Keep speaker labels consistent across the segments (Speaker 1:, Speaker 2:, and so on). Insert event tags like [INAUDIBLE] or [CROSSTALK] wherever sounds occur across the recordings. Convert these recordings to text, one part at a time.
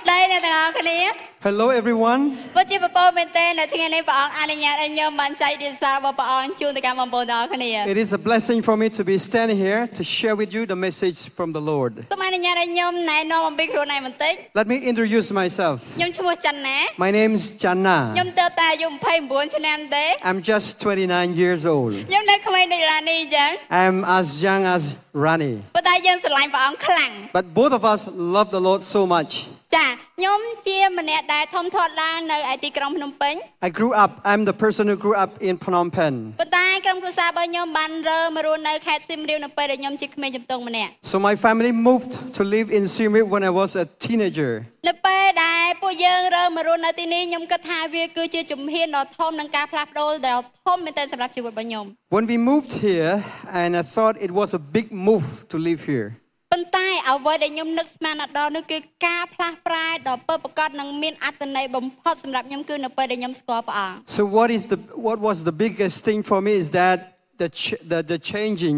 Speaker 1: ស្ដីអ្នកទាំងអស់គ្នា
Speaker 2: Hello, everyone.
Speaker 1: ពិតជាប្រពន្ធមែនទែននៅថ្ងៃនេះព្រះអង្គអនុញ្ញាតឲ្យខ្ញុំបានចែករាយសាររបស់ព្រះអង្គជូនទៅកាន់បងប្អូនទាំងអស់គ្នា
Speaker 2: It is a blessing for me to be standing here to share with you the message from the Lord.
Speaker 1: សូមអនុញ្ញាតឲ្យខ្ញុំណែនាំអំពីខ្លួនឯងបន្តិច
Speaker 2: Let me introduce myself.
Speaker 1: ខ្ញុំឈ្មោះច័ន្ទណា
Speaker 2: My name is
Speaker 1: ខ្ញុំ
Speaker 2: Channa.
Speaker 1: ទៅតែអាយុ29ឆ្នាំទេ
Speaker 2: I'm just 29 years old.
Speaker 1: ខ្ញុំនៅក្មេងដូចរានីអញ្ចឹង
Speaker 2: I'm as young as Rani.
Speaker 1: ប៉ុន្តែយើងស្រឡាញ់ព្រះអង្គខ្លាំង
Speaker 2: But both of us love the Lord so much.
Speaker 1: ចាខ្ញុំជាម្នាក់ដែលធំធាត់ឡើងនៅឯទីក្រុងភ្នំពេញ
Speaker 2: I grew up, I'm the person who grew up in Phnom Penh.
Speaker 1: ប៉ុន្តែក្រុមគ្រួសាររបស់ខ្ញុំបានរើមករស់នៅខេត្តសៀមរាបនៅពេលដែលខ្ញុំជាក្មេងជំទង់ម្នាក់
Speaker 2: So my family moved to live in Siem Reap when I was a teenager.
Speaker 1: នៅពេលដែលពួកយើងរើមករស់នៅទីនេះខ្ញុំគិតថាវាគឺជាជំហានដ៏ធំនឹងការផ្លាស់ប្ដូរដ៏ធំមែនទែនសម្រាប់ជីវិតរបស់ខ្ញុំ
Speaker 2: When we moved here, and I thought it was a big move to live here.
Speaker 1: ប៉ុន្តែអ្វីដែលខ្ញុំនឹកស្មានដល់នោះគឺការផ្លាស់ប្រែដ៏ពិតប្រាកដនិងមានអត្ថន័យបំផុតសម្រាប់ខ្ញុំគឺនៅពេលដែលខ្ញុំស្គាល់ព្រះអង្គ
Speaker 2: So what is the what was the biggest thing for me is that the ch- the, the changing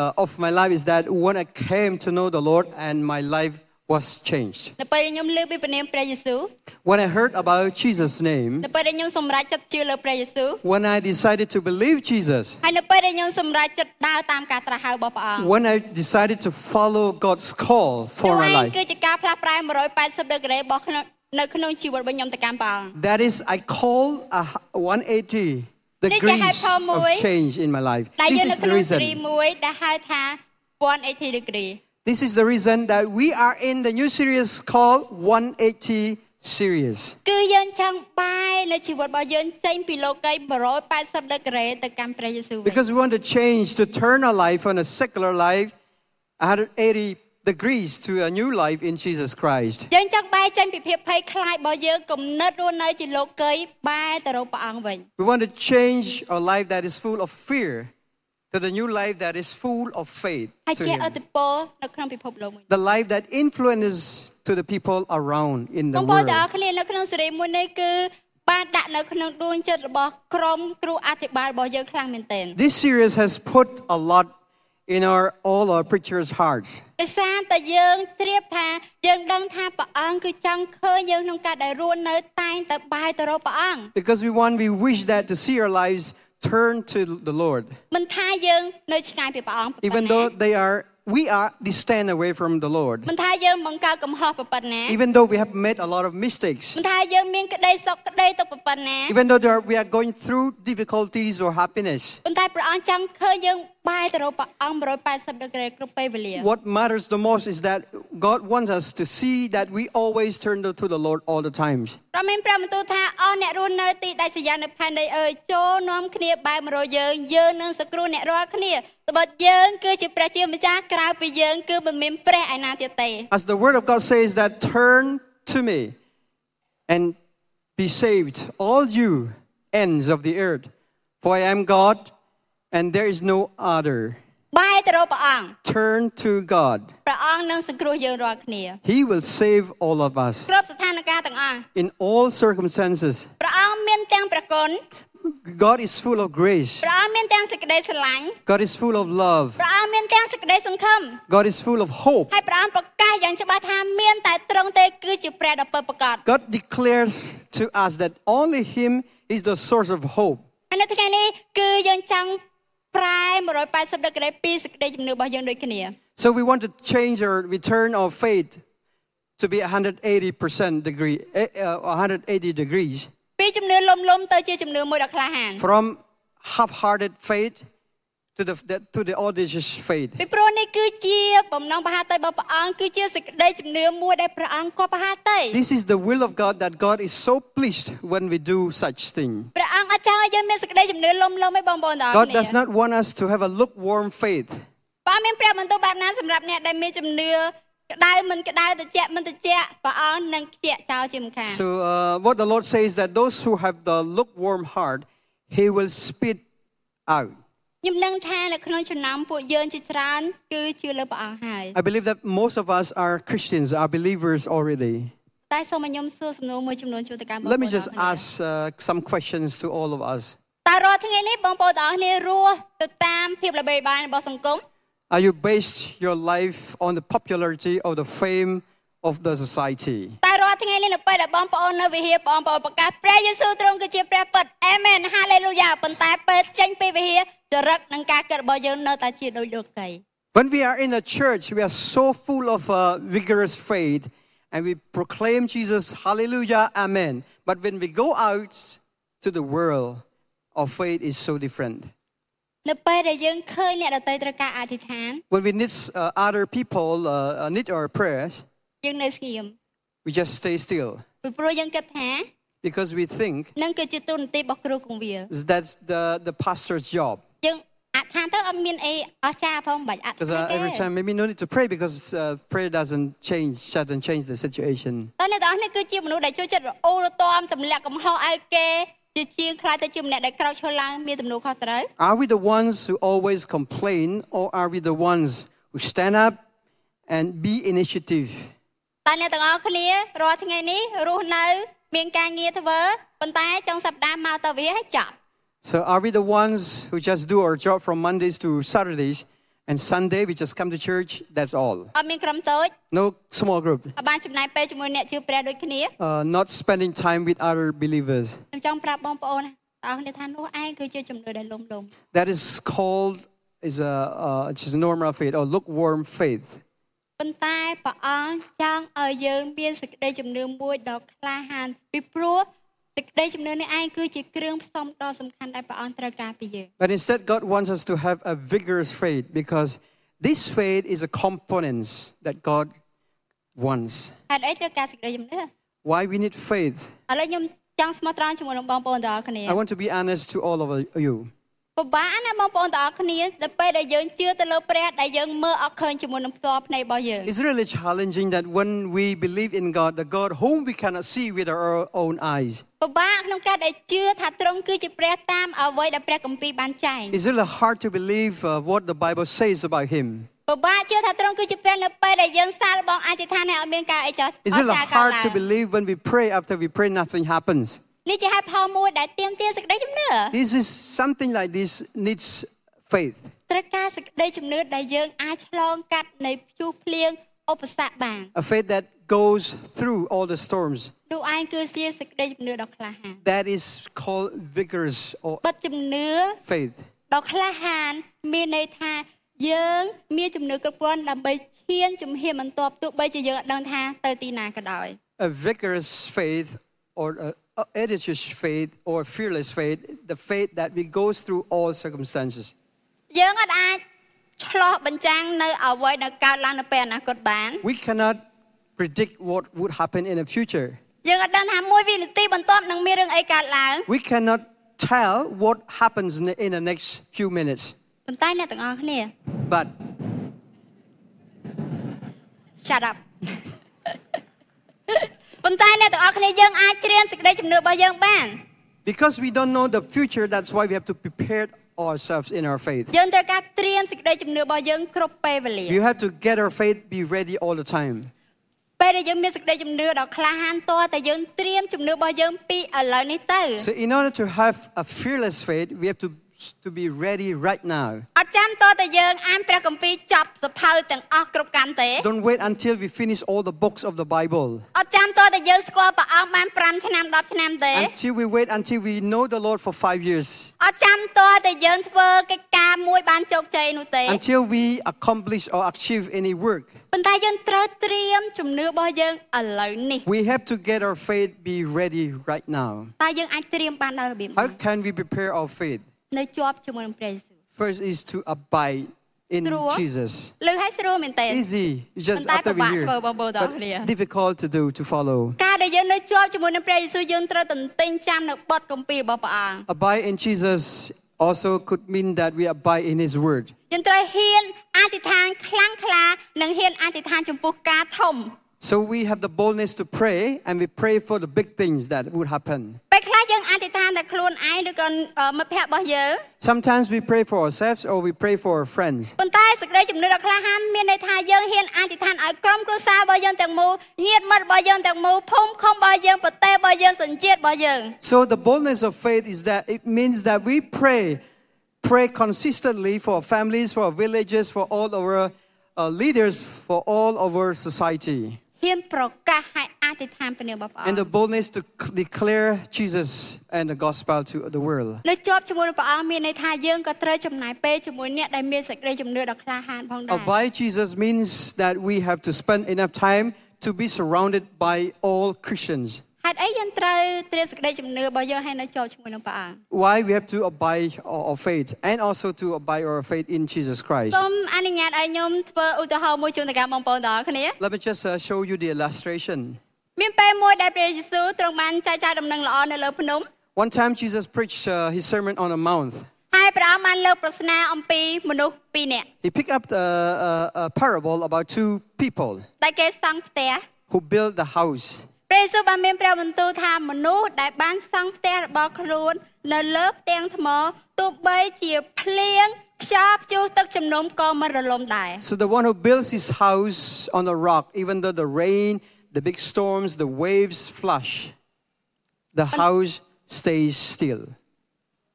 Speaker 2: uh, of my life is that when I came to know the Lord and my life was changed.
Speaker 1: នៅពេលដែលខ្ញុំលើកពីព្រះនាមព្រះយេស៊ូវ
Speaker 2: When I heard about Jesus' name,
Speaker 1: នៅពេលដែលខ្ញុំសម្រេចចិត្តជឿលើព្រះយេស៊ូវ
Speaker 2: when I decided to believe Jesus,
Speaker 1: ហើយនៅពេលដែលខ្ញុំសម្រេចចិត្តដើរតាមការត្រាស់ហៅរបស់ព្រះអង្គ
Speaker 2: when I decided to follow God's call
Speaker 1: នោះ
Speaker 2: for my
Speaker 1: ឯង
Speaker 2: life,
Speaker 1: គឺជាការផ្លាស់ប្រែ180ដឺក្រេរបស់ក្នុងនៅក្នុងជីវិតរបស់ខ្ញុំទៅកាន់ព្រះអង្គ
Speaker 2: that is I call a h- 180 the
Speaker 1: Đây là hai
Speaker 2: grace
Speaker 1: phong
Speaker 2: of
Speaker 1: mũi.
Speaker 2: change in my life.
Speaker 1: ដែលយើ
Speaker 2: This
Speaker 1: ងនៅ
Speaker 2: is
Speaker 1: ក្នុង
Speaker 2: the
Speaker 1: ទ្រី
Speaker 2: reason.
Speaker 1: មួយដែលហៅថា180 degree
Speaker 2: This is the reason that we are in the new series called 180 series.
Speaker 1: គឺយើងចង់បែរនៅជីវិតរបស់យើងចេញពីលោកីយ៍180ដឺក្រេទៅកាន់ព្រះយេស៊ូវវិញ
Speaker 2: Because we want to change, to turn our life from a secular life 180 degrees to a new life in Jesus Christ.
Speaker 1: យើងចង់បែរចេញពីភាពភ័យខ្លាចរបស់យើងគំនិតរស់នៅជាលោកីយ៍បែរទៅរកព្រះអង្គវិញ
Speaker 2: We want to change our life that is full of fear to the new life that is full of faith.
Speaker 1: ហើយ
Speaker 2: to
Speaker 1: ជា
Speaker 2: Him.
Speaker 1: អតិពលនៅក្នុងពិភពលោកមួយ
Speaker 2: The life that influences to the people around in
Speaker 1: ប
Speaker 2: the
Speaker 1: ងប្អូន
Speaker 2: world.
Speaker 1: ទាំងអស់គ្នានៅក្នុងសេរីមួយនេះគឺបានដាក់នៅក្នុងដួងចិត្តរបស់ក្រុមគ្រូអធិបាលរបស់យើងខ្លាំងមែនទែន
Speaker 2: This series has put a lot in our all our preachers' hearts.
Speaker 1: ដោយសារតែយើងជ្រាបថាយើងដឹងថាព្រះអង្គគឺចង់ឃើញយើងក្នុងការដែលរស់នៅតែងតែបាយទៅរកព្រះអង្គ
Speaker 2: Because we want, we wish that to see our lives turn to the Lord.
Speaker 1: មិនថាយើងនៅឆ្ងាយពីព្រះអង្គប៉ុ
Speaker 2: Even
Speaker 1: ណ្ណា
Speaker 2: though they are, we are distant away from the Lord.
Speaker 1: មិនថាយើងបង្កើតកំហុសប៉ុណ្ណា
Speaker 2: Even though we have made a lot of mistakes,
Speaker 1: មិនថាយើងមានក្តីសុខក្តីទុក្ខប៉ុណ្ណា
Speaker 2: even though there, we are going through difficulties or happiness,
Speaker 1: ប៉ុន្តែព្រះអង្គចង់ឃើញយើងបាយទៅរកព្រះអង្គ180ដឺក្រេគ្រប់ពេលវេលា
Speaker 2: what matters the most is that God wants us to see that we always turn to the Lord all the times.
Speaker 1: ព្រះមានព្រះបន្ទូលថាអស់អ្នករស់នៅទីដាច់ស្រយាលនៅផែនដីអើយចូលនាំគ្នាបែរមករកយើងយើងនឹងសង្គ្រោះអ្នករាល់គ្នាត្បិតយើងគឺជាព្រះជាម្ចាស់ក្រៅពីយើងគឺមិនមានព្រះឯណាទៀតទេ
Speaker 2: As the Word of God says, that turn to me and be saved, all you ends of the earth, for I am God and there is no other.
Speaker 1: បែរទៅរកព្រះអង្គ
Speaker 2: Turn to God,
Speaker 1: ព្រះអង្គនឹងសង្គ្រោះយើងរាល់គ្នា
Speaker 2: He will save all of us
Speaker 1: គ្រប់ស្ថានភាពទាំងអស់
Speaker 2: in all circumstances.
Speaker 1: ព្រះអង្គមានទាំងប្រគុណ
Speaker 2: God is full of grace.
Speaker 1: ព្រះអង្គមានទាំងសេចក្តីស្រឡាញ់
Speaker 2: God is full of love.
Speaker 1: ព្រះអង្គមានទាំងសេចក្តីសង្ឃឹម
Speaker 2: God is full of hope.
Speaker 1: ហើយព្រះអង្គប្រកាសយ៉ាងច្បាស់ថាមានតែត្រង់ទេគឺជាព្រះដ៏ពិតប្រាកដ
Speaker 2: God declares to us that only Him is the source of hope.
Speaker 1: ហើយនៅថ្ងៃនេះគឺយើងចង់ប្រែ180ដឺក្រេពីសេចក្តីជំនឿរបស់យើងដូចគ្នា
Speaker 2: So we want to change our return of faith to be 180% degree, eh, uh, 180 degrees
Speaker 1: ពីជំនឿលំលំទៅជាជំនឿមួយដ៏ក្លាហាន
Speaker 2: from half-hearted faith to the, the to the audacious faith.
Speaker 1: ពីព្រោះនេះគឺជាបំណងប្រហាតៃរបស់ព្រះអង្គគឺជាសេចក្តីជំនឿមួយដែលព្រះអង្គគាត់ប្រហាតៃ
Speaker 2: This is the will of God that God is so pleased when we do such thing.
Speaker 1: ព្រះអង្គអត់ចង់ឲ្យយើងមានសេចក្តីជំនឿលំលំឯងបងប្អូនទាំងអស់
Speaker 2: God
Speaker 1: គ្នា
Speaker 2: does not want us to have a lukewarm faith.
Speaker 1: ព្រះអង្គមានព្រះបន្ទូលបែបណាសម្រាប់អ្នកដែលមានជំនឿក្តៅមិនក្តៅត្រជាក់មិនត្រជាក់ព្រះអង្គនឹងខ្ជាក់ចោលជាមិនខាន
Speaker 2: So uh, what the Lord says that those who have the lukewarm heart, He will spit out.
Speaker 1: ខ្ញុំនឹងថានៅក្នុងចំណោមពួកយើងជាច្រើនគឺជឿលើព្រះអង្គហើយ
Speaker 2: I believe that most of us are Christians, are believers already.
Speaker 1: តែសូមឲ្យខ្ញុំសួរសំណួរមួយចំនួនជូនទៅកាន់បងប្អូន
Speaker 2: Let me just
Speaker 1: ទាំងអស់គ្នា
Speaker 2: ask uh, some questions to all of us.
Speaker 1: តើរាល់ថ្ងៃនេះបងប្អូនទាំងអស់គ្នារស់ទៅតាមភាពល្បីល្បាញរបស់សង្គម
Speaker 2: Are you based your life on the popularity or the fame of the society.
Speaker 1: តែរាល់ថ្ងៃនេះនៅពេលដែលបងប្អូននៅវិហារបងប្អូនប្រកាសព្រះយេស៊ូវទ្រង់គឺជាព្រះពិតអេមែនហាឡេលូយ៉ាប៉ុន្តែពេលចេញពីវិហារចរិតនិងការគិតរបស់យើងនៅតែជាដូចលោកកៃ
Speaker 2: When we are in a church, we are so full of uh, vigorous faith and we proclaim Jesus, hallelujah, amen. But when we go out to the world, our faith is so different.
Speaker 1: នៅពេលដែលយើងឃើញអ្នកដទៃត្រូវការអធិដ្ឋាន
Speaker 2: When we need uh, other people, uh, uh, need our prayers,
Speaker 1: យើងនៅស្ងៀម
Speaker 2: we just stay still
Speaker 1: ពីព្រោះយើងគិតថា
Speaker 2: because we think
Speaker 1: នឹងគឺជាទូនាទីរបស់គ្រូគង្វា
Speaker 2: that's the, the pastor's job.
Speaker 1: យើងអធិដ្ឋានទៅអត់មានអីអស្ចារ្យផងបាច់អធិ
Speaker 2: Because
Speaker 1: ដ្ឋា
Speaker 2: uh,
Speaker 1: នទេ
Speaker 2: every time, maybe no need to pray because uh, prayer doesn't change, doesn't change the situation.
Speaker 1: តែអ្នកទាំងអស់នេះគឺជាមនុស្សដែលចូលចិត្តរអ៊ូរទាំទម្លាក់កំហុសឲ្យគេជាជាងខ្លាចទៅជាម្នាក់ដែលក្រោកឈរឡើងមានទំនួលខុសត្រូវ
Speaker 2: Are we the ones who always complain, or are we the ones who stand up and be initiative?
Speaker 1: តែអ្នកទាំងអស់គ្នារាល់ថ្ងៃនេះរស់នៅមានការងារធ្វើប៉ុន្តែចុងសប្តាហ៍មកទៅវារឲ្យចប់
Speaker 2: So, are we the ones who just do our job from Mondays to Saturdays, and Sunday we just come to church? That's all.
Speaker 1: អត់មានក្រុមតូច
Speaker 2: No small group.
Speaker 1: អត់បានចំណាយពេលជាមួយអ្នកជឿព្រះដូចគ្នា
Speaker 2: Uh, not spending time with other believers.
Speaker 1: ខ្ញុំចង់ប្រាប់បងប្អូនទាំងអស់គ្នាថានោះឯងគឺជាជំនឿដែលលំលំ
Speaker 2: That is called is a uh, it's just normal faith or lukewarm faith.
Speaker 1: ប៉ុន្តែព្រះអង្គចង់ឲ្យយើងមានសេចក្តីជំនឿមួយដ៏ក្លាហានពីព្រោះសេចក្តីជំនឿនេះឯងគឺជាគ្រឿងផ្សំដ៏សំខាន់ដែលព្រះអង្គត្រូវការពីយើង
Speaker 2: But instead, God wants us to have a vigorous faith because this faith is a component that God wants.
Speaker 1: ហេតុអីត្រូវការសេចក្តីជំនឿឥ
Speaker 2: Why we need faith?
Speaker 1: ឡូវខ្ញុំចង់ស្មោះត្រង់ជាមួយនឹងបងប្អូនទាំងអស់គ្នា
Speaker 2: I want to be honest to all of you.
Speaker 1: ពិបាកណាស់បងប្អូនទាំងអស់គ្នាដល់ពេលដែលយើងជឿទៅលើព្រះដែលយើងមើលអត់ឃើញជាមួយនឹងផ្ទាល់ភ្នែករបស់យើង
Speaker 2: It's really challenging that when we believe in God, the God whom we cannot see with our own eyes,
Speaker 1: ពិបាកក្នុងការដែលជឿថាទ្រង់គឺជាព្រះតាមអ្វីដែលព្រះគម្ពីរបានចែង
Speaker 2: it's really hard to believe uh, what the Bible says about Him.
Speaker 1: ពិបាកជឿថាទ្រង់គឺជាព្រះនៅពេលដែលយើងសាកល្បងអធិដ្ឋានឲ្យអត់មានការអីចោះ
Speaker 2: It's
Speaker 1: អ
Speaker 2: really
Speaker 1: ស្ចារ្យកើត
Speaker 2: hard
Speaker 1: ឡើង
Speaker 2: to believe when we pray, after we pray, nothing happens.
Speaker 1: នេះជាហេតុផលមួយដែលទាមទារសេចក្តីជំនឿ
Speaker 2: This is something like this needs faith.
Speaker 1: ត្រូវការសេចក្តីជំនឿដែលយើងអាចឆ្លងកាត់នៃព្យុះភ្លៀងឧបសគ្គបាន
Speaker 2: A faith that goes through all the storms.
Speaker 1: នោះឯងគឺជាសេចក្តីជំនឿដ៏ក្លាហាន
Speaker 2: That is called vigorous or
Speaker 1: បាត់ជំនឿ
Speaker 2: faith.
Speaker 1: ដ៏ក្លាហានមានន័យថាយើងមានជំនឿគ្រប់គ្រាន់ដើម្បីឈានជំហានបន្ទាប់ទោះបីជាយើងអត់ដឹងថាទៅទីណាក៏ដោយ
Speaker 2: A vigorous faith or a a adventurous faith or fearless faith, the faith that we goes through all circumstances.
Speaker 1: យើងអត់អាចឆ្លោះបញ្ចាំងនៅអ្វីដែលកើតឡើងនៅពេលអនាគតបាន
Speaker 2: We cannot predict what would happen in the future.
Speaker 1: យើងអត់ដឹងថាមួយវិនាទីបន្ទាប់នឹងមានរឿងអីកើតឡើង
Speaker 2: We cannot tell what happens in the, in the next few minutes.
Speaker 1: ប៉ុន្តែអ្នកទាំងអស់គ្នា
Speaker 2: But
Speaker 1: Shut up [LAUGHS] ប៉ុន្តែអ្នកទាំងអស់គ្នាយើងអាចត្រៀមសេចក្តីជំនឿរបស់យើងបាន
Speaker 2: because we don't know the future, that's why we have to prepare ourselves in our faith.
Speaker 1: យើងត្រូវការត្រៀមសេចក្តីជំនឿរបស់យើងគ្រប់ពេលវេលា
Speaker 2: We have to get our faith be ready all the time.
Speaker 1: ពេលដែលយើងមានសេចក្តីជំនឿដ៏ក្លាហានតតែយើងត្រៀមជំនឿរបស់យើងពីឥឡូវនេះទៅ
Speaker 2: So in order to have a fearless faith, we have to, to be ready right now.
Speaker 1: អត់ចាំតតែយើងអានព្រះគម្ពីរចប់សភៅទាំងអស់គ្រប់កាន់ទេ
Speaker 2: Don't wait until we finish all the books of the Bible.
Speaker 1: អត់ចាំតតែយើងស្គាល់ព្រះអង្គបាន5ឆ្នាំ10ឆ្នាំទេ
Speaker 2: Until we wait until we know the Lord for five years.
Speaker 1: អត់ចាំតតែយើងធ្វើកិច្ចការមួយបានជោគជ័យនោះទេ
Speaker 2: Until we accomplish or achieve any work.
Speaker 1: ប៉ុន្តែយើងត្រូវត្រៀមជំនឿរបស់យើងឥឡូវនេះ
Speaker 2: We have to get our faith be ready right now.
Speaker 1: តើយើងអាចត្រៀមបានដល់របៀបណា
Speaker 2: How can we prepare our faith?
Speaker 1: នៅជាប់ជាមួយនឹងព្រះយេស៊ូវ
Speaker 2: First is to abide in
Speaker 1: Through.
Speaker 2: Jesus.
Speaker 1: លឺហើយស្រួលមែនទេ
Speaker 2: Easy, just
Speaker 1: បន្តែ
Speaker 2: after we
Speaker 1: ពិបាក
Speaker 2: hear.
Speaker 1: ធ្វើបងប្អូនទាំងអស់
Speaker 2: but
Speaker 1: គ្នា
Speaker 2: difficult to do, to follow.
Speaker 1: ការដែលយើងនៅជាប់ជាមួយនឹងព្រះយេស៊ូវយើងត្រូវតន្ទិញចាំនៅបទគម្ពីររបស់ព្រះអង្គ
Speaker 2: Abide in Jesus also could mean that we abide in His Word.
Speaker 1: យើងត្រូវហ៊ានអធិដ្ឋានខ្លាំងក្លានិងហ៊ានអធិដ្ឋានចំពោះការធំ
Speaker 2: So we have the boldness to pray and we pray for the big things that would happen.
Speaker 1: ពេលខ្លះយើងអធិដ្ឋានតែខ្លួនឯងឬក៏អឺមិត្តភ័ក្តិរបស់យើង
Speaker 2: Sometimes we pray for ourselves or we pray for our friends.
Speaker 1: ប៉ុន្តែសេចក្តីជំនឿដ៏ក្លាហានមានន័យថាយើងហ៊ានអធិដ្ឋានឲ្យក្រុមគ្រួសាររបស់យើងទាំងមូលញាតិមិត្តរបស់យើងទាំងមូលភូមិឃុំរបស់យើងប្រទេសរបស់យើងសញ្ជាតិរបស់យើង
Speaker 2: So the boldness of faith is that it means that we pray, pray consistently for our families, for our villages, for all our uh, leaders, for all of our society.
Speaker 1: ហ៊ានប្រកាសឲ្យអធិដ្ឋានព្រះនាមរបស់ព្រះអ
Speaker 2: and
Speaker 1: ង្
Speaker 2: the boldness to c- declare Jesus and the gospel to the world.
Speaker 1: នៅជាប់ជាមួយនឹងព្រះអង្គមានន័យថាយើងក៏ត្រូវចំណាយពេលជាមួយអ្នកដែលមានសេចក្តីជំនឿដ៏ក្លាហានផងដែរ
Speaker 2: Abide Jesus means that we have to spend enough time to be surrounded by all Christians.
Speaker 1: ហេតុអីយើងត្រូវត្រៀមសេចក្តីជំនឿរបស់យើងឲ្យនៅជាប់ជាមួយនឹងព្រះអង្គ
Speaker 2: Why we have to abide our, our faith and also to abide our faith in Jesus Christ.
Speaker 1: សូមអនុញ្ញាតឲ្យខ្ញុំធ្វើឧទាហរណ៍មួយជូនទៅកាន់បងប្អូនទាំងអស់គ្នា
Speaker 2: Let me just uh, show you the illustration.
Speaker 1: មានពេលមួយដែលព្រះយេស៊ូវទ្រង់បានចែកចាយដំណឹងល្អនៅលើភ្នំ
Speaker 2: One time Jesus preached uh, his sermon on a mount.
Speaker 1: ហើយព្រះអង្គបានលើកប្រស្នាអំពីមនុស្សពីរនាក់
Speaker 2: He picked up the, uh, a parable about two people
Speaker 1: ដែលគេសង់ផ្ទះ
Speaker 2: who built the house.
Speaker 1: ព្រះយេស៊ូវបានមានព្រះបន្ទូលថាមនុស្សដែលបានសង់ផ្ទះរបស់ខ្លួននៅលើផ្ទាំងថ្មទោះបីជាភ្លៀងខ្យល់ព្យុះទឹកជំនំក៏មិនរលំដែរ
Speaker 2: So the one who builds his house on a rock, even though the rain, the big storms, the waves flush, the house stays still.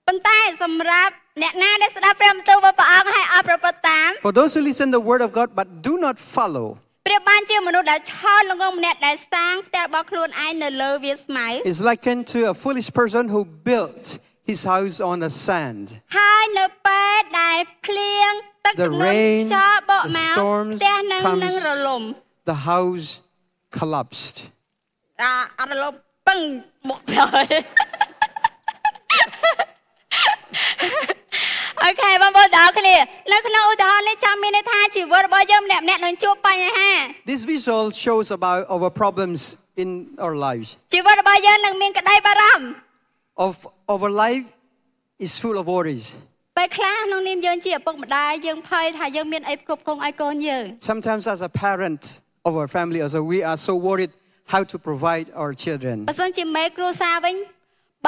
Speaker 1: ប៉ុន្តែសម្រាប់អ្នកណាដែលស្ដាប់ព្រះបន្ទូលរបស់ព្រះអង្គហើយអត់ប្រព្រឹត្តតាម
Speaker 2: For those who listen the word of God but do not follow,
Speaker 1: ព្រះបានជាមនុស្សដែលឆោតល្ងងម្នាក់ដែលសាងផ្ទះរបស់ខ្លួនឯងនៅលើវាលស្មៅ
Speaker 2: is likened to a foolish person who built his house on the sand.
Speaker 1: ហើយនៅពេលដែលភ្លៀងទឹក
Speaker 2: The
Speaker 1: ជំនន់
Speaker 2: rain,
Speaker 1: ខ្យល់បក់
Speaker 2: the
Speaker 1: មក
Speaker 2: storms
Speaker 1: ផ្ទះនឹង
Speaker 2: comes.
Speaker 1: នឹងរលំ
Speaker 2: The house collapsed.
Speaker 1: អាអត់រលំពឹងបុកហើយ [LAUGHS] អូខេបងប្អូនទាំងអស់គ្នានៅក្នុងឧទាហរណ៍នេះចាំមានន័យថាជីវិតរបស់យើងម្នាក់ៗនឹងជួបបញ្ហា
Speaker 2: This visual shows about our problems in our lives.
Speaker 1: ជីវិតរបស់យើងនឹងមានក្តីបារម្ភ
Speaker 2: Of our life is full of worries.
Speaker 1: ពេលខ្លះក្នុងនាមយើងជាឪពុកម្ដាយយើងភ័យថាយើងមានអីផ្គប់ផ្គង់ឲ្យកូនយើង
Speaker 2: Sometimes, as a parent of our family, also, we are so worried how to provide our children.
Speaker 1: បើសិនជាមេគ្រួសារវិញ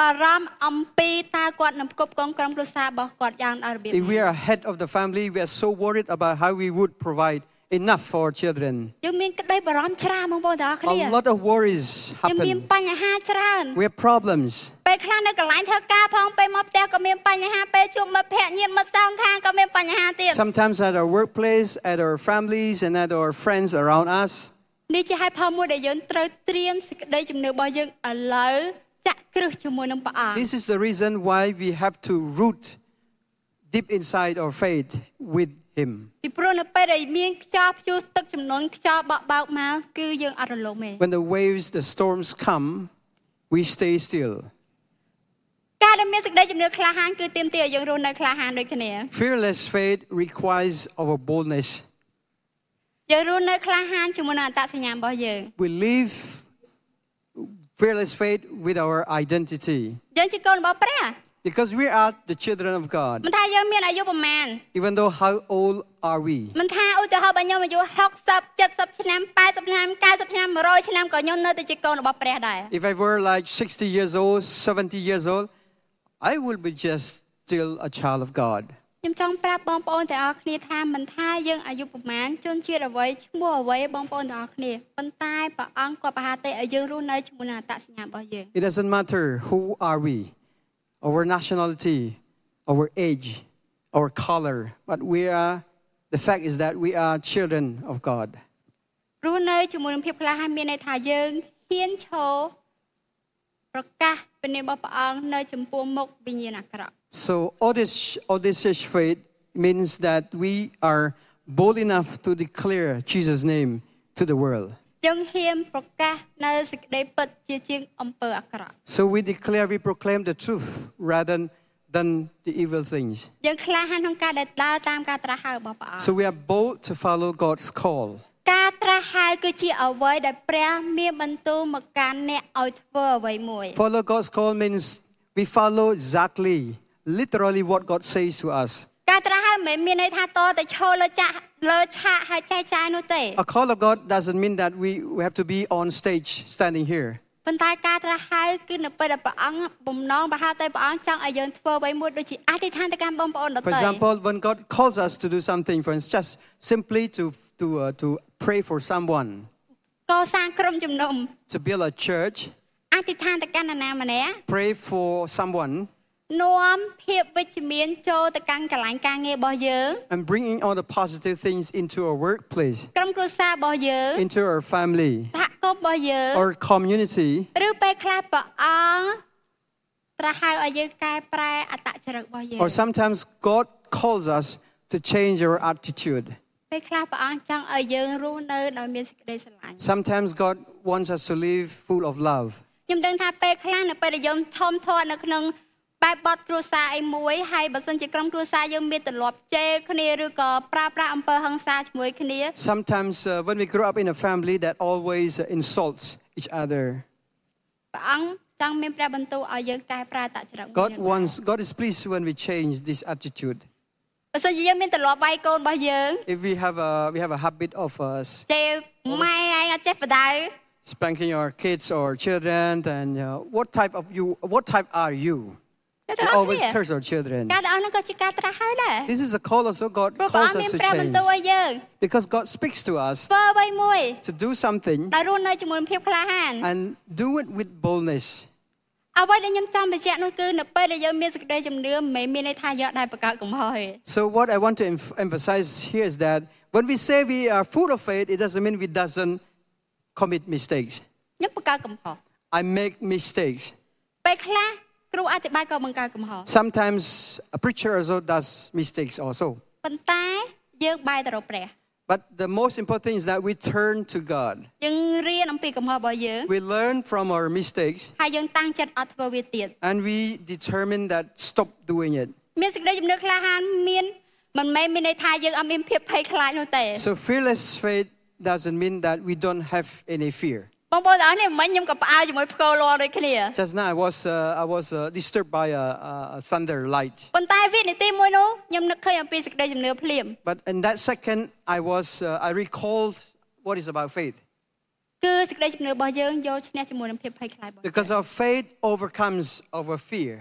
Speaker 1: បារម្ភអំពីតើគាត់នឹងផ្គប់ផ្គង់ក្រុមគ្រួសាររបស់គាត់យ៉ាងដល់របៀប
Speaker 2: If we are head of the family, we are so worried about how we would provide enough for our children.
Speaker 1: យើងមានក្តីបារម្ភច្រើនបងប្អូនទាំងអស់គ្នា
Speaker 2: A lot of worries
Speaker 1: យើងមាន
Speaker 2: happen.
Speaker 1: បញ្ហាច្រើន
Speaker 2: We have problems.
Speaker 1: ពេលខ្លះនៅកន្លែងធ្វើការផងពេលមកផ្ទះក៏មានបញ្ហាពេលជួបមិត្តភ័ក្តិញាតិមិត្តសងខាងក៏មានបញ្ហាទៀត
Speaker 2: Sometimes at our workplace, at our families, and at our friends around us.
Speaker 1: នេះជាហេតុផលមួយដែលយើងត្រូវត្រៀមសេចក្តីជំនឿរបស់យើងឥឡូវចាក់គ្រឹះជាមួយនឹងព្រះអង្គ
Speaker 2: This is the reason why we have to root deep inside our faith with Him.
Speaker 1: ពីព្រោះនៅពេលដែលមានខ្យល់ព្យុះទឹកចំនួនខ្យល់បក់បោកមកគឺយើងអត់រលំទេ
Speaker 2: When the waves, the storms come, we stay still.
Speaker 1: ការដែលមានសេចក្តីជំនឿក្លាហានគឺទាមទារឲ្យយើងរស់នៅក្លាហានដូចគ្នា
Speaker 2: Fearless faith requires our boldness.
Speaker 1: យើងរស់នៅក្លាហានជាមួយនឹងអត្តសញ្ញាណរបស់យើង
Speaker 2: We live fearless faith with our identity
Speaker 1: យើងជាកូនរបស់ព្រះ
Speaker 2: because we are the children of God.
Speaker 1: មិនថាយើងមានអាយុប្រមាណ
Speaker 2: Even though how old are we?
Speaker 1: មិនថាឧទាហរណ៍បើខ្ញុំអាយុ60 70ឆ្នាំ80ឆ្នាំ90ឆ្នាំ100ឆ្នាំក៏ខ្ញុំនៅតែជាកូនរបស់ព្រះដែរ
Speaker 2: If I were like 60 years old, 70 years old, I would be just still a child of God.
Speaker 1: ខ្ញុំចង់ប្រាប់បងប្អូនទាំងអស់គ្នាថាមិនថាយើងអាយុប្រមាណជនជាតិអ្វីឈ្មោះអ្វីបងប្អូនទាំងអស់គ្នាប៉ុន្តែព្រះអង្គក៏ប្រហារទេឲ្យយើងរស់នៅជាមួយនឹងអត្តសញ្ញាណរបស់យើង
Speaker 2: It doesn't matter who are we, our nationality, our age, our color, but we are the fact is that we are children of God.
Speaker 1: រស់នៅជាមួយនឹងភាពក្លាហានមានន័យថាយើងហ៊ានឈរប្រកាសព្រះនាមរបស់ព្រះអង្គនៅចំពោះមុខវិញ្ញាណអាក្រក់
Speaker 2: So audacious, audacious faith means that we are bold enough to declare Jesus' name to the world.
Speaker 1: យើងហ៊ានប្រកាសនៅសេចក្តីពិតជាជាងអំពើអាក្រក់
Speaker 2: So we declare, we proclaim the truth rather than the evil things.
Speaker 1: យើងក្លាហានក្នុងការដែលដើរតាមការត្រាស់ហៅរបស់ព្រះអង្គ
Speaker 2: So we are bold to follow God's call.
Speaker 1: ការត្រាស់ហៅគឺជាអ្វីដែលព្រះមានបន្ទូលមកកាន់អ្នកឲ្យធ្វើអ្វីមួយ
Speaker 2: Follow God's call means we follow exactly, literally what God says to us.
Speaker 1: ការត្រាស់ហៅមិនមែនមានន័យថាតតែឈរលើចាក់លើឆាកហើយចែកចាយនោះទេ
Speaker 2: A call of God doesn't mean that we, we have to be on stage standing here.
Speaker 1: ប៉ុន្តែការត្រាស់ហៅគឺនៅពេលដែលព្រះអង្គបំណងប្រហែលតែព្រះអង្គចង់ឲ្យយើងធ្វើអ្វីមួយដូចជាអធិដ្ឋានទៅកាន់បងប្អូនដទៃ
Speaker 2: For example, when God calls us to do something, for instance, just simply to, to, uh, to pray for someone,
Speaker 1: កសាងក្រុមជំនុំ
Speaker 2: to build a church,
Speaker 1: អធិដ្ឋានទៅកាន់នរណាម្នាក់
Speaker 2: pray for someone,
Speaker 1: នាំភាពវិជ្ជមានចូលទៅកាន់កន្លែងការងាររបស់យើង
Speaker 2: and bringing all the positive things into our workplace,
Speaker 1: ក្រុមគ្រួសាររបស់យើង
Speaker 2: into our family,
Speaker 1: សហគមន៍របស់យើង
Speaker 2: our community.
Speaker 1: ឬពេលខ្លះព្រះអង្គត្រាស់ហៅឲ្យយើងកែប្រែអត្តចរិតរបស់យើង
Speaker 2: Or sometimes God calls us to change our attitude.
Speaker 1: ពេលខ្លះព្រះអង្គចង់ឲ្យយើងរស់នៅដោយមានសេចក្តីស្រឡាញ់
Speaker 2: Sometimes God wants us to live full of love.
Speaker 1: ខ្ញុំដឹងថាពេលខ្លះនៅពេលដែលយើងធំធាត់នៅក្នុងបែបបទគ្រួសារអីមួយហើយបើសិនជាក្រុមគ្រួសារយើងមានទម្លាប់ជេរគ្នាឬក៏ប្រើប្រាស់អំពើហិង្សាជាមួយគ្នា
Speaker 2: Sometimes uh, when we grow up in a family that always uh, insults each other,
Speaker 1: ព្រះអង្គចង់មានព្រះបន្ទូលឲ្យយើងកែប្រែអត្តចរិតរបស់
Speaker 2: God
Speaker 1: យើង
Speaker 2: wants God is pleased when we change this attitude.
Speaker 1: បើសិនជាយើងមានទម្លាប់វាយកូនរបស់យើង
Speaker 2: If we have a we have a habit of uh, s-
Speaker 1: ជេរម៉ែឯងអត់ចេះបដៅ
Speaker 2: spanking our kids or children, then uh, what type of you? What type are you?
Speaker 1: តែ
Speaker 2: We
Speaker 1: ទាំងអស់
Speaker 2: always
Speaker 1: គ្នា
Speaker 2: curse our children.
Speaker 1: ការទាំងអស់ហ្នឹងក៏ជាការត្រាស់ហើយដែរ
Speaker 2: This is a call also God
Speaker 1: ព្រោះព្រះអ
Speaker 2: calls
Speaker 1: ង្គមា
Speaker 2: us
Speaker 1: ន
Speaker 2: to
Speaker 1: ព្រះប
Speaker 2: change
Speaker 1: ន្ទូលឲ្យយើង
Speaker 2: because God speaks to us
Speaker 1: ធ្វើអ្វីមួយ
Speaker 2: to do something
Speaker 1: ដែលរស់នៅជាមួយនឹងភាពក្លាហាន
Speaker 2: and do it with boldness.
Speaker 1: អ្វីដែលខ្ញុំចង់បញ្ជាក់នោះគឺនៅពេលដែលយើងមានសេចក្តីជំនឿមិនមែនមានន័យថាយកដែរបកកើតកំហុសទេ
Speaker 2: So what I want to emph- emphasize here is that when we say we are full of faith, it doesn't mean we doesn't commit mistakes.
Speaker 1: ខ្ញុំបកកើតកំហុស
Speaker 2: I make mistakes.
Speaker 1: ពេលខ្លះគ្រូអធិប្បាយក៏បង្កើតកំហុស
Speaker 2: Sometimes a preacher also does mistakes also.
Speaker 1: ប៉ុន្តែយើងបែរទៅរកព្រះ
Speaker 2: But the most important thing is that we turn to God.
Speaker 1: យើងរៀនអំពីកំហុសរបស់យើង
Speaker 2: We learn from our mistakes
Speaker 1: ហើយយើងតាំងចិត្តអត់ធ្វើវាទៀត
Speaker 2: and we determine that stop doing it.
Speaker 1: មានសេចក្តីជំនឿក្លាហានមានមិនមែនមានន័យថាយើងអត់មានភាពភ័យខ្លាចនោះទេ
Speaker 2: So fearless faith doesn't mean that we don't have any fear.
Speaker 1: បងប្អូនទាំងអស់នេះមិញខ្ញុំក៏ផ្អើលជាមួយផ្គរលាន់ដូចគ្នា
Speaker 2: Just now I was, uh, I was uh, disturbed by a, a a thunder light.
Speaker 1: ប៉ុន្តែវិនាទីមួយនោះខ្ញុំនឹកឃើញអំពីសេចក្តីជំនឿភ្លាម
Speaker 2: But in that second, I was uh, I recalled what is about faith
Speaker 1: គឺសេចក្តីជំនឿរបស់យើងយកឈ្នះជាមួយនឹងភាពភ័យខ្លាចរបស់យើង
Speaker 2: because our faith overcomes our fear.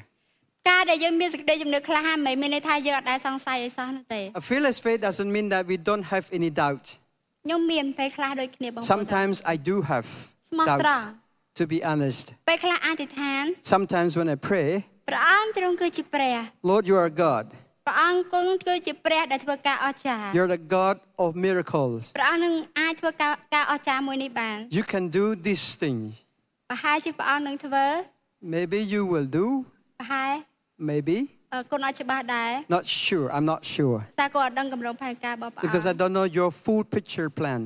Speaker 1: ការដែលយើងមានសេចក្តីជំនឿក្លាហានមិនមែនមានន័យថាយើងអត់ដែលសង្ស័យអីសោះនោះទេ
Speaker 2: A fearless faith doesn't mean that we don't have any doubt.
Speaker 1: ខ្ញុំមានភ័យខ្លាចដូចគ្នាបងប្អូន
Speaker 2: Sometimes I do have doubts.
Speaker 1: Smatra.
Speaker 2: To be honest,
Speaker 1: ពេលខ្លះអធិដ្ឋាន
Speaker 2: sometimes when I pray,
Speaker 1: ព្រះអង្គទ្រង់គឺជាព្រះ
Speaker 2: Lord, you are God.
Speaker 1: ព្រះអង្គគង់គឺជាព្រះដែលធ្វើការអស្ចារ្យ
Speaker 2: You're the God of miracles.
Speaker 1: ព្រះអង្គនឹងអាចធ្វើការការអស្ចារ្យមួយនេះបាន
Speaker 2: You can do these things.
Speaker 1: ប្រហែលជាព្រះអង្គនឹងធ្វើ
Speaker 2: Maybe you will do.
Speaker 1: ប្រហែល
Speaker 2: Maybe
Speaker 1: អឺគុណអត់ច្បាស់ដែរ
Speaker 2: not sure. I'm not sure
Speaker 1: តែគាត់អត់ដឹងកម្រងផែនការរបស់ព្រះអង្គ
Speaker 2: because I don't know your full picture plan.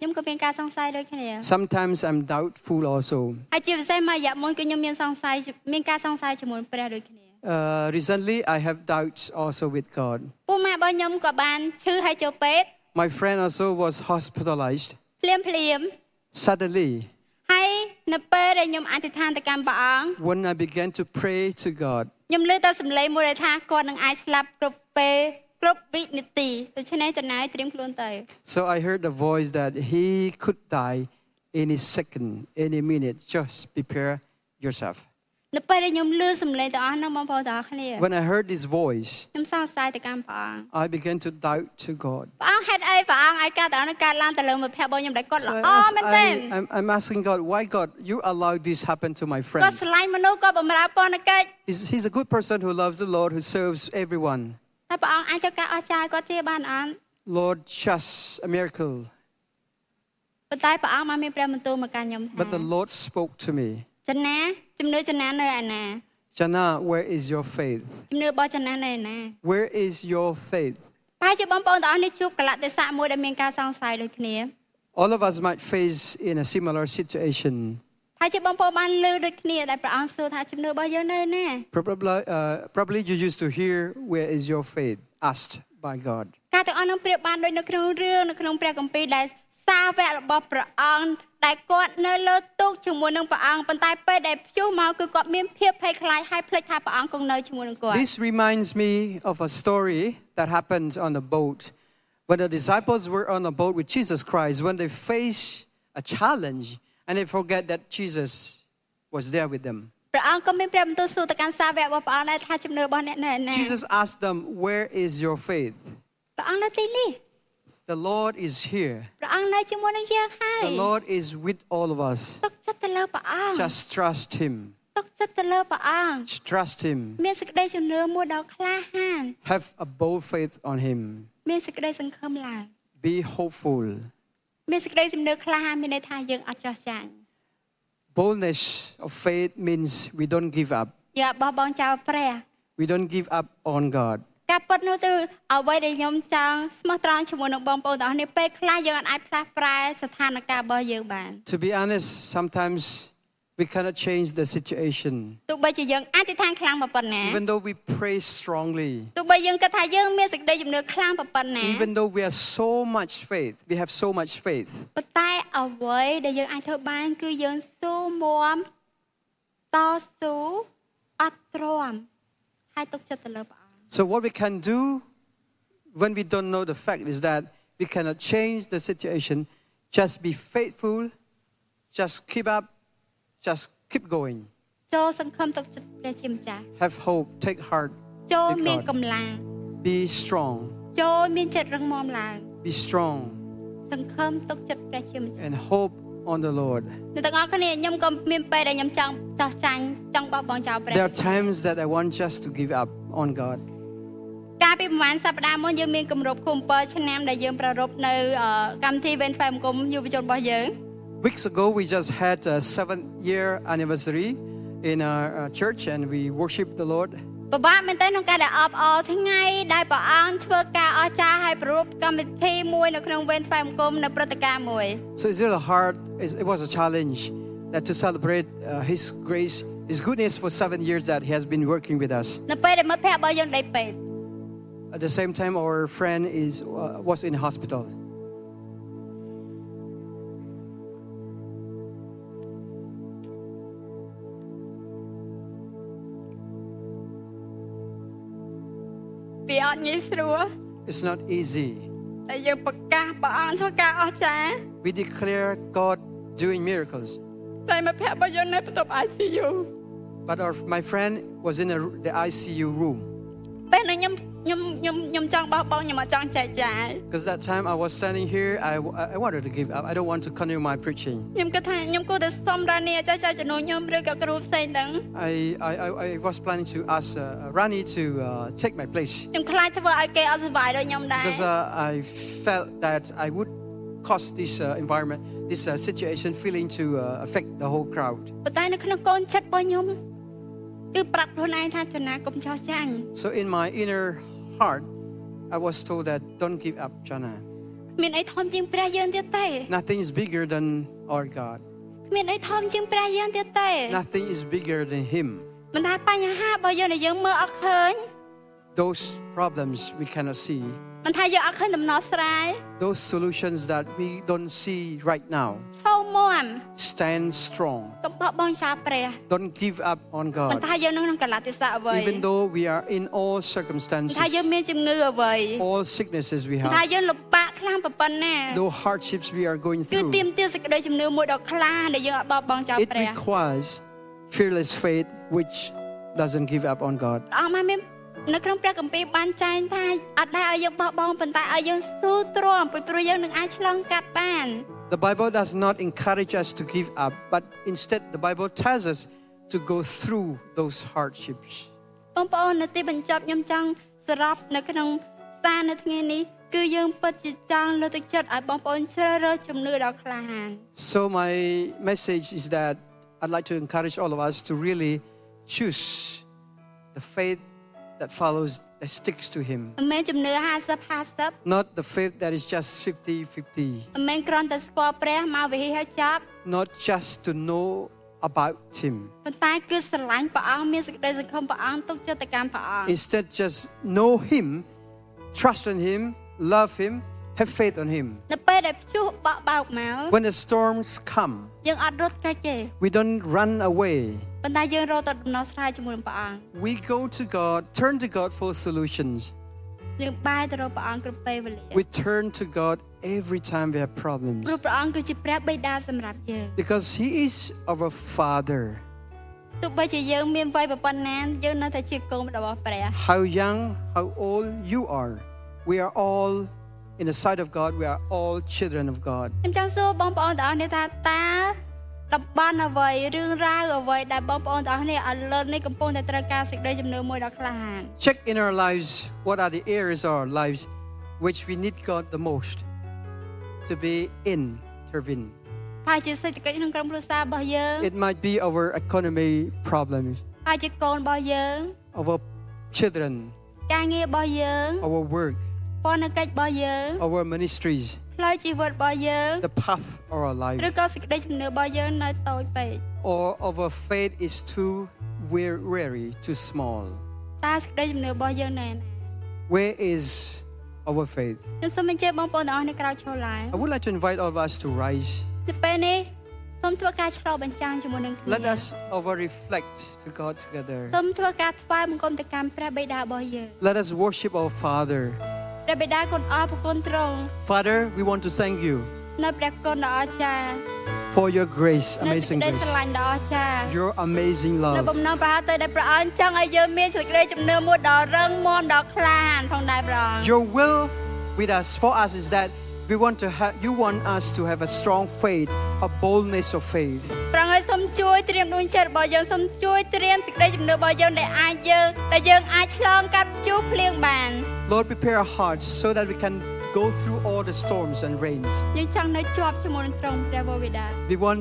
Speaker 1: ខ្ញុំក៏មានការសង្ស័យដូចគ្នា
Speaker 2: Sometimes I'm doubtful also.
Speaker 1: ហើយជាពិសេសមួយរយៈមុនគឺខ្ញុំមានសង្ស័យមានការសង្ស័យជាមួយនឹងព្រះដូចគ្នា
Speaker 2: Uh, recently, I have doubts also with God.
Speaker 1: ពួកម៉ែរបស់ខ្ញុំក៏បានឈឺហើយចូលពេទ្យ
Speaker 2: My friend also was hospitalized
Speaker 1: ភ្លាមភ្លាម
Speaker 2: suddenly
Speaker 1: ហើយនៅពេលដែលខ្ញុំអធិដ្ឋានទៅកាន់ព្រះអង្គ
Speaker 2: when I began to pray to God.
Speaker 1: ខ្ញុំលើតែសំឡេងមួយដែលថាគាត់នឹងអាចស្លាប់គ្រប់ពេលគ្រប់វិនាទីដូច្នេះចំណាយត្រៀមខ្លួនទៅ
Speaker 2: So I heard a voice that he could die any second, any minute. Just prepare yourself.
Speaker 1: នៅពេលដែលខ្ញុំលើសំឡេងទាំងអស់ហ្នឹងបងប្អូនទាំងអស់គ្នា
Speaker 2: When I heard this voice,
Speaker 1: ខ្ញុំសង្ស័យទៅកាន់ព្រះអង្គ
Speaker 2: I began to doubt to God.
Speaker 1: ព្រះអង្គហេតុអីព្រះអង្គឲ្យការទាំងអស់ហ្នឹងកើតឡើងទៅលើមិត្តភក្តិរបស់ខ្ញុំដែលគាត់
Speaker 2: So
Speaker 1: ល្អ
Speaker 2: I
Speaker 1: មែនទែន
Speaker 2: am I'm asking God, why God, you allowed this happen to my
Speaker 1: គា
Speaker 2: friend?
Speaker 1: ត់ស្រឡាញ់មនុស្សគាត់បម្រើពរណកិច្ច
Speaker 2: He's, he's a good person who loves the Lord, who serves everyone.
Speaker 1: តែព្រះអង្គអាចធ្វើការអស្ចារ្យគាត់ជាបានអត់
Speaker 2: Lord, just a miracle.
Speaker 1: ប៉ុន្តែព្រះអង្គបានមានព្រះបន្ទូលមកកាន់ខ្ញុំថា
Speaker 2: But the Lord spoke to me.
Speaker 1: ចំណាជំនឿចំណានៅឯណា
Speaker 2: Jana, where is your faith?
Speaker 1: ជំនឿរបស់ចំណានៅឯណា
Speaker 2: Where is your faith?
Speaker 1: ប្រហែលជាបងប្អូនទាំងអស់នេះជួបកលៈទេសៈមួយដែលមានការសង្ស័យដូចគ្នា
Speaker 2: All of us might face in a similar situation.
Speaker 1: ហើយជាបងប្អូនបានលើដូចគ្នាដែលព្រះអង្គសួរថាជំនឿរបស់យើងនៅណា
Speaker 2: Probably, uh, probably you used to hear, where is your faith? Asked by God.
Speaker 1: ការទាំងអស់នឹងប្រៀបបានដូចនៅក្នុងរឿងនៅក្នុងព្រះគម្ពីរដែលសាវករបស់ព្រះអង្គដែលគាត់នៅលើទូកជាមួយនឹងព្រះអង្គប៉ុន្តែពេលដែលព្យុះមកគឺគាត់មានភាពភ័យខ្លាចហើយភ្លេចថាព្រះអង្គគង់នៅជាមួយនឹងគាត់
Speaker 2: This reminds me of a story that happened on a boat. When the disciples were on a boat with Jesus Christ, when they face a challenge and they forget that Jesus was there with them.
Speaker 1: ព្រះអង្គក៏មានព្រះបន្ទូលសួរទៅកាន់សាវករបស់ព្រះអង្គដែរថាជំនឿរបស់អ្នកនៅឯណា
Speaker 2: Jesus asked them, Where is your faith?
Speaker 1: ព្រះអង្គនៅទីនេះ
Speaker 2: The Lord is here.
Speaker 1: ព្រះអង្គនៅជាមួយនឹងយើងហើយ
Speaker 2: The Lord is with all of us.
Speaker 1: ទុកចិត្តទៅលើព្រះអង្គ
Speaker 2: Just trust Him.
Speaker 1: ទុកចិត្តទៅលើព្រះអង្គ
Speaker 2: Trust Him.
Speaker 1: មានសេចក្តីជំនឿមួយដ៏ក្លាហាន
Speaker 2: Have a bold faith on Him.
Speaker 1: មានសេចក្តីសង្ឃឹមឡើង
Speaker 2: Be hopeful.
Speaker 1: មានសេចក្តីជំនឿក្លាហានមានន័យថាយើងអត់ចោះចាញ់
Speaker 2: Boldness of faith means we don't give up.
Speaker 1: យើងអត់បោះបង់ចោលព្រះ
Speaker 2: We don't give up on God.
Speaker 1: ការពិតនោះគឺអ្វីដែលខ្ញុំចង់ស្មោះត្រង់ជាមួយនឹងបងប្អូនទាំងអស់នេះពេលខ្លះយើងអត់អាចផ្លាស់ប្រែស្ថានភាពរបស់យើងបាន
Speaker 2: To be honest, sometimes we cannot change the situation.
Speaker 1: ទោះបីជាយើងអធិដ្ឋានខ្លាំងប៉ុណ្ណា
Speaker 2: Even though we pray strongly,
Speaker 1: ទោះបីយើងគិតថាយើងមានសេចក្តីជំនឿខ្លាំងប៉ុណ្ណា
Speaker 2: even though we have so much faith, we have so much faith,
Speaker 1: ប៉ុន្តែអ្វីដែលយើងអាចធ្វើបាន គឺយើងស៊ូមាំតស៊ូអត់ទ្រាំហើយទុកចិត្តទៅលើព្រះអង្គ
Speaker 2: So what we can do when we don't know the fact is that we cannot change the situation. Just be faithful. Just keep up. Just keep going.
Speaker 1: ចូលសង្ឃឹមទុកចិត្តព្រះជាម្ចាស់
Speaker 2: Have hope. Take heart.
Speaker 1: ចូល
Speaker 2: ដឹក
Speaker 1: មាន
Speaker 2: កោត
Speaker 1: កម្លាំង
Speaker 2: Be strong.
Speaker 1: ចូលមានចិត្តរឹងមាំឡើង
Speaker 2: Be strong
Speaker 1: សង្ឃឹមទុកចិត្តព្រះជាម្ចាស់
Speaker 2: and hope on the Lord.
Speaker 1: អ្នកទាំងអស់គ្នាខ្ញុំក៏មានពេលដែលខ្ញុំចង់ចោះចាញ់ចង់បោះបង់ចោលព្រះ
Speaker 2: There are times that I want just to give up on God.
Speaker 1: កាលពីប្រហែលសប្តាហ៍មុនយើងមានគម្រប់ខួប7ឆ្នាំដែលយើងប្រារព្ធនៅអឺកម្មវិធី Event ផ្សាយបង្គំយុវជនរបស់យើង
Speaker 2: Weeks ago, we just had a seventh year anniversary in our uh, church and we worshiped the Lord.
Speaker 1: ពិបាកមែនទែនក្នុងការដែលអបអរថ្ងៃដែលព្រះអង្គធ្វើការអស្ចារ្យឲ្យប្រពកម្មវិធីមួយនៅក្នុងវេនផ្សាយបង្គំនៅព្រឹត្តិការណ៍មួយ
Speaker 2: So it's really hard. It's, it was a challenge that to celebrate uh, His grace, His goodness for seven years that He has been working with us.
Speaker 1: នៅពេលដែលមិត្តភក្តិរបស់យើងដេកពេទ្យ
Speaker 2: At the same time, our friend is uh, was in hospital.
Speaker 1: វាអត់ងាយស្រួល
Speaker 2: It's not easy.
Speaker 1: តែយើងប្រកាសព្រះអង្គធ្វើការអស្ចារ្យ
Speaker 2: We declare God doing miracles,
Speaker 1: តែមិត្តភក្តិរបស់យើងនៅបន្ទប់ ICU
Speaker 2: but our my friend was in a, the ICU room
Speaker 1: ពេលនោះខ្ញុំខ្ញុំខ្ញុំខ្ញុំចង់បោះបង់ខ្ញុំអត់ចង់ចែកចាយ
Speaker 2: because that time I was standing here. I, I I wanted to give up. I don't want to continue my preaching.
Speaker 1: ខ្ញុំគិតថាខ្ញុំគួរតែសុំរានីអាចារ្យចែកជំនួយខ្ញុំឬក៏គ្រូផ្សេងទាំង
Speaker 2: I I, I, I was planning to ask uh, Rani to uh, take my place
Speaker 1: ខ្ញុំខ្លាចធ្វើឲ្យគេអត់សុវ័យដូចខ្ញុំដែរ
Speaker 2: because uh, I felt that I would cause this uh, environment, this uh, situation, feeling to uh, affect the whole crowd.
Speaker 1: ប៉ុន្តែនៅក្នុងកូនចិត្តរបស់ខ្ញុំគឺប្រាប់ខ្លួនឯងថាចំណាកុំចោះចាញ់
Speaker 2: So in my inner heart, I was told that don't give up, Jana.
Speaker 1: គ្មានអីធំជាងព្រះយើងទៀតទេ
Speaker 2: Nothing is bigger than our God.
Speaker 1: គ្មានអីធំជាងព្រះយើងទៀតទេ
Speaker 2: Nothing is bigger than Him.
Speaker 1: មិនថាបញ្ហារបស់យើងដែលយើងមើលអត់ឃើញ
Speaker 2: Those problems we cannot see,
Speaker 1: មិនថាយើងអត់ឃើញដំណោះស្រាយ
Speaker 2: those solutions that we don't see right now,
Speaker 1: ឈោមមាំ
Speaker 2: stand strong.
Speaker 1: កុំបោះបង់ចោលព្រះ
Speaker 2: Don't give up on
Speaker 1: មិន
Speaker 2: God.
Speaker 1: ថាយើងនៅក្នុងកលតិសៈអ្វី
Speaker 2: Even though we are in all
Speaker 1: មិនថាយើង
Speaker 2: circumstances,
Speaker 1: មានជំងឺអ្វីម
Speaker 2: all sicknesses we
Speaker 1: ិនថា
Speaker 2: have,
Speaker 1: យើងលំបាកខ្លាំងប៉ុណ្ណា
Speaker 2: no hardships we are going
Speaker 1: គឺ
Speaker 2: through,
Speaker 1: ទៀមទាសេចក្តីជំនឿមួយដ៏ខ្លាដែលយើងអត់បោះបង់ចោល
Speaker 2: it
Speaker 1: ព្រះ
Speaker 2: requires fearless faith which doesn't give up on God.
Speaker 1: ព្រះអង្គបានមាននៅក្នុងព្រះគម្ពីរបានចែងថាអត់ដែរឲ្យយើងបោះបង់ប៉ុន្តែឲ្យយើងស៊ូទ្រាំពីព្រោះយើងនឹងអាចឆ្លងកាត់បាន
Speaker 2: The Bible does not encourage us to give up, but instead the Bible tells us to go through those hardships.
Speaker 1: បងប្អូននៅទីបញ្ចប់ខ្ញុំចង់សរុបនៅក្នុងសារនៅថ្ងៃនេះគឺយើងពិតជាចង់លើកទឹកចិត្តឲ្យបងប្អូនជ្រើសរើសជំនឿដ៏ក្លាហាន
Speaker 2: So my message is that I'd like to encourage all of us to really choose the faith that follows that sticks to him,
Speaker 1: មិនមែនជំនឿ50 50
Speaker 2: not the faith that is just 50-50.
Speaker 1: មិនមែនគ្រាន់តែស្គាល់ព្រះមកវិហិហើយចប់
Speaker 2: not just to know about Him.
Speaker 1: ប៉ុន្តែគឺស្រឡាញ់ព្រះអង្គមានសេចក្តីសង្ឃឹមព្រះអង្គទុកចិត្តទៅកាន់ព្រះអង្គ
Speaker 2: Instead, just know Him, trust in Him, love Him, have faith on Him.
Speaker 1: នៅពេលដែលព្យុះបក់បោកមក
Speaker 2: When the storms come,
Speaker 1: យើងអត់រត់គេចទេ
Speaker 2: we don't run away.
Speaker 1: ប៉ុន្តែយើងរកទៅដំណោះស្រាយជាមួយនឹងព្រះអង្គ
Speaker 2: We go to God, turn to God for solutions.
Speaker 1: យើងបែរទៅរកព្រះអង្គគ្រប់ពេលវេលា
Speaker 2: We turn to God every time we have problems
Speaker 1: ព្រោះព្រះអង្គគឺជាព្រះបិតាសម្រាប់យើង
Speaker 2: because He is our Father.
Speaker 1: ទោះបីជាយើងមានវ័យប៉ុណ្ណាយើងនៅតែជាកូនរបស់ព្រះ
Speaker 2: How young, how old you are, we are all, in the sight of God, we are all children of God.
Speaker 1: ខ្ញុំចង់សួរបងប្អូនទាំងអស់នេះថាតើ តំបន់អ្វីរឿងរ៉ាវអ្វីដែលបងប្អូនទាំងអស់គ្នាឥឡូវនេះកំពុងតែត្រូវការសេចក្តីជំនឿមួយដ៏ក្លាហាន
Speaker 2: Check in our lives what are the areas of our lives which we need God the most to be in, Tervin.
Speaker 1: ប្រហែលជាសេដ្ឋកិច្ចក្នុងក្រុមគ្រួសាររបស់យើង
Speaker 2: It might be our economy problems,
Speaker 1: ប្រហែលជាកូនរបស់យើង
Speaker 2: our children,
Speaker 1: ការងាររបស់យើង
Speaker 2: our work,
Speaker 1: ពន្ធកិច្ចរបស់យើង
Speaker 2: our ministries,
Speaker 1: ផ្លូវជីវិតរបស់យើង
Speaker 2: the path of our
Speaker 1: ឬ
Speaker 2: life,
Speaker 1: ក៏សេចក្តីជំនឿរបស់យើងនៅតូចពេក
Speaker 2: or our faith is too we're weary, too small.
Speaker 1: តើសេចក្តីជំនឿរបស់យើងនៅឯណា
Speaker 2: Where is our faith?
Speaker 1: ខ្ញុំសូមអញ្ជើញបងប្អូនទាំងអស់នៅក្រៅឈរឡើង
Speaker 2: I would like to invite all of us to rise.
Speaker 1: នៅពេលនេះសូមធ្វើការឆ្លងបញ្ចាំងជាមួយនឹងគ្នា
Speaker 2: Let us over reflect to God together.
Speaker 1: សូមធ្វើការថ្វាយបង្គំទៅកាន់ព្រះបិតារបស់យើង
Speaker 2: Let us worship our Father.
Speaker 1: ព្រះបិតាគុណអរព្រគុណទ្រង់
Speaker 2: Father, we want to thank you
Speaker 1: នៅព្រះគុណដ៏អស្ចារ្យ
Speaker 2: for your grace,
Speaker 1: នៅសេច
Speaker 2: amazing
Speaker 1: ក្តី
Speaker 2: grace,
Speaker 1: ស្រឡាញ់ដ៏អស្ចារ្យ
Speaker 2: your amazing
Speaker 1: នៅបំ
Speaker 2: love.
Speaker 1: ណងប្រហារទៅដែលព្រះអង្គចង់ឲ្យយើងមានសេចក្តីជំនឿមួយដ៏រឹងមាំដ៏ក្លាហានផងដែរព្រះអង្គ
Speaker 2: Your will with us for us is that we want to have you want us to have a strong faith, a boldness of faith.
Speaker 1: ព្រះអង្គឲ្យសូមជួយត្រៀមដួងចិត្តរបស់យើងសូមជួយត្រៀមសេចក្តីជំនឿរបស់យើងដែលអាចយើងដែលយើងអាចឆ្លងកាត់ជួបភ្លៀងបាន
Speaker 2: Lord, prepare our hearts so that we can go through all the storms and rains.
Speaker 1: យើងចង់នៅជាប់ជាមួយនឹងទ្រង់ព្រះបិតា
Speaker 2: We want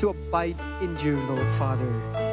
Speaker 2: to abide in you, Lord Father.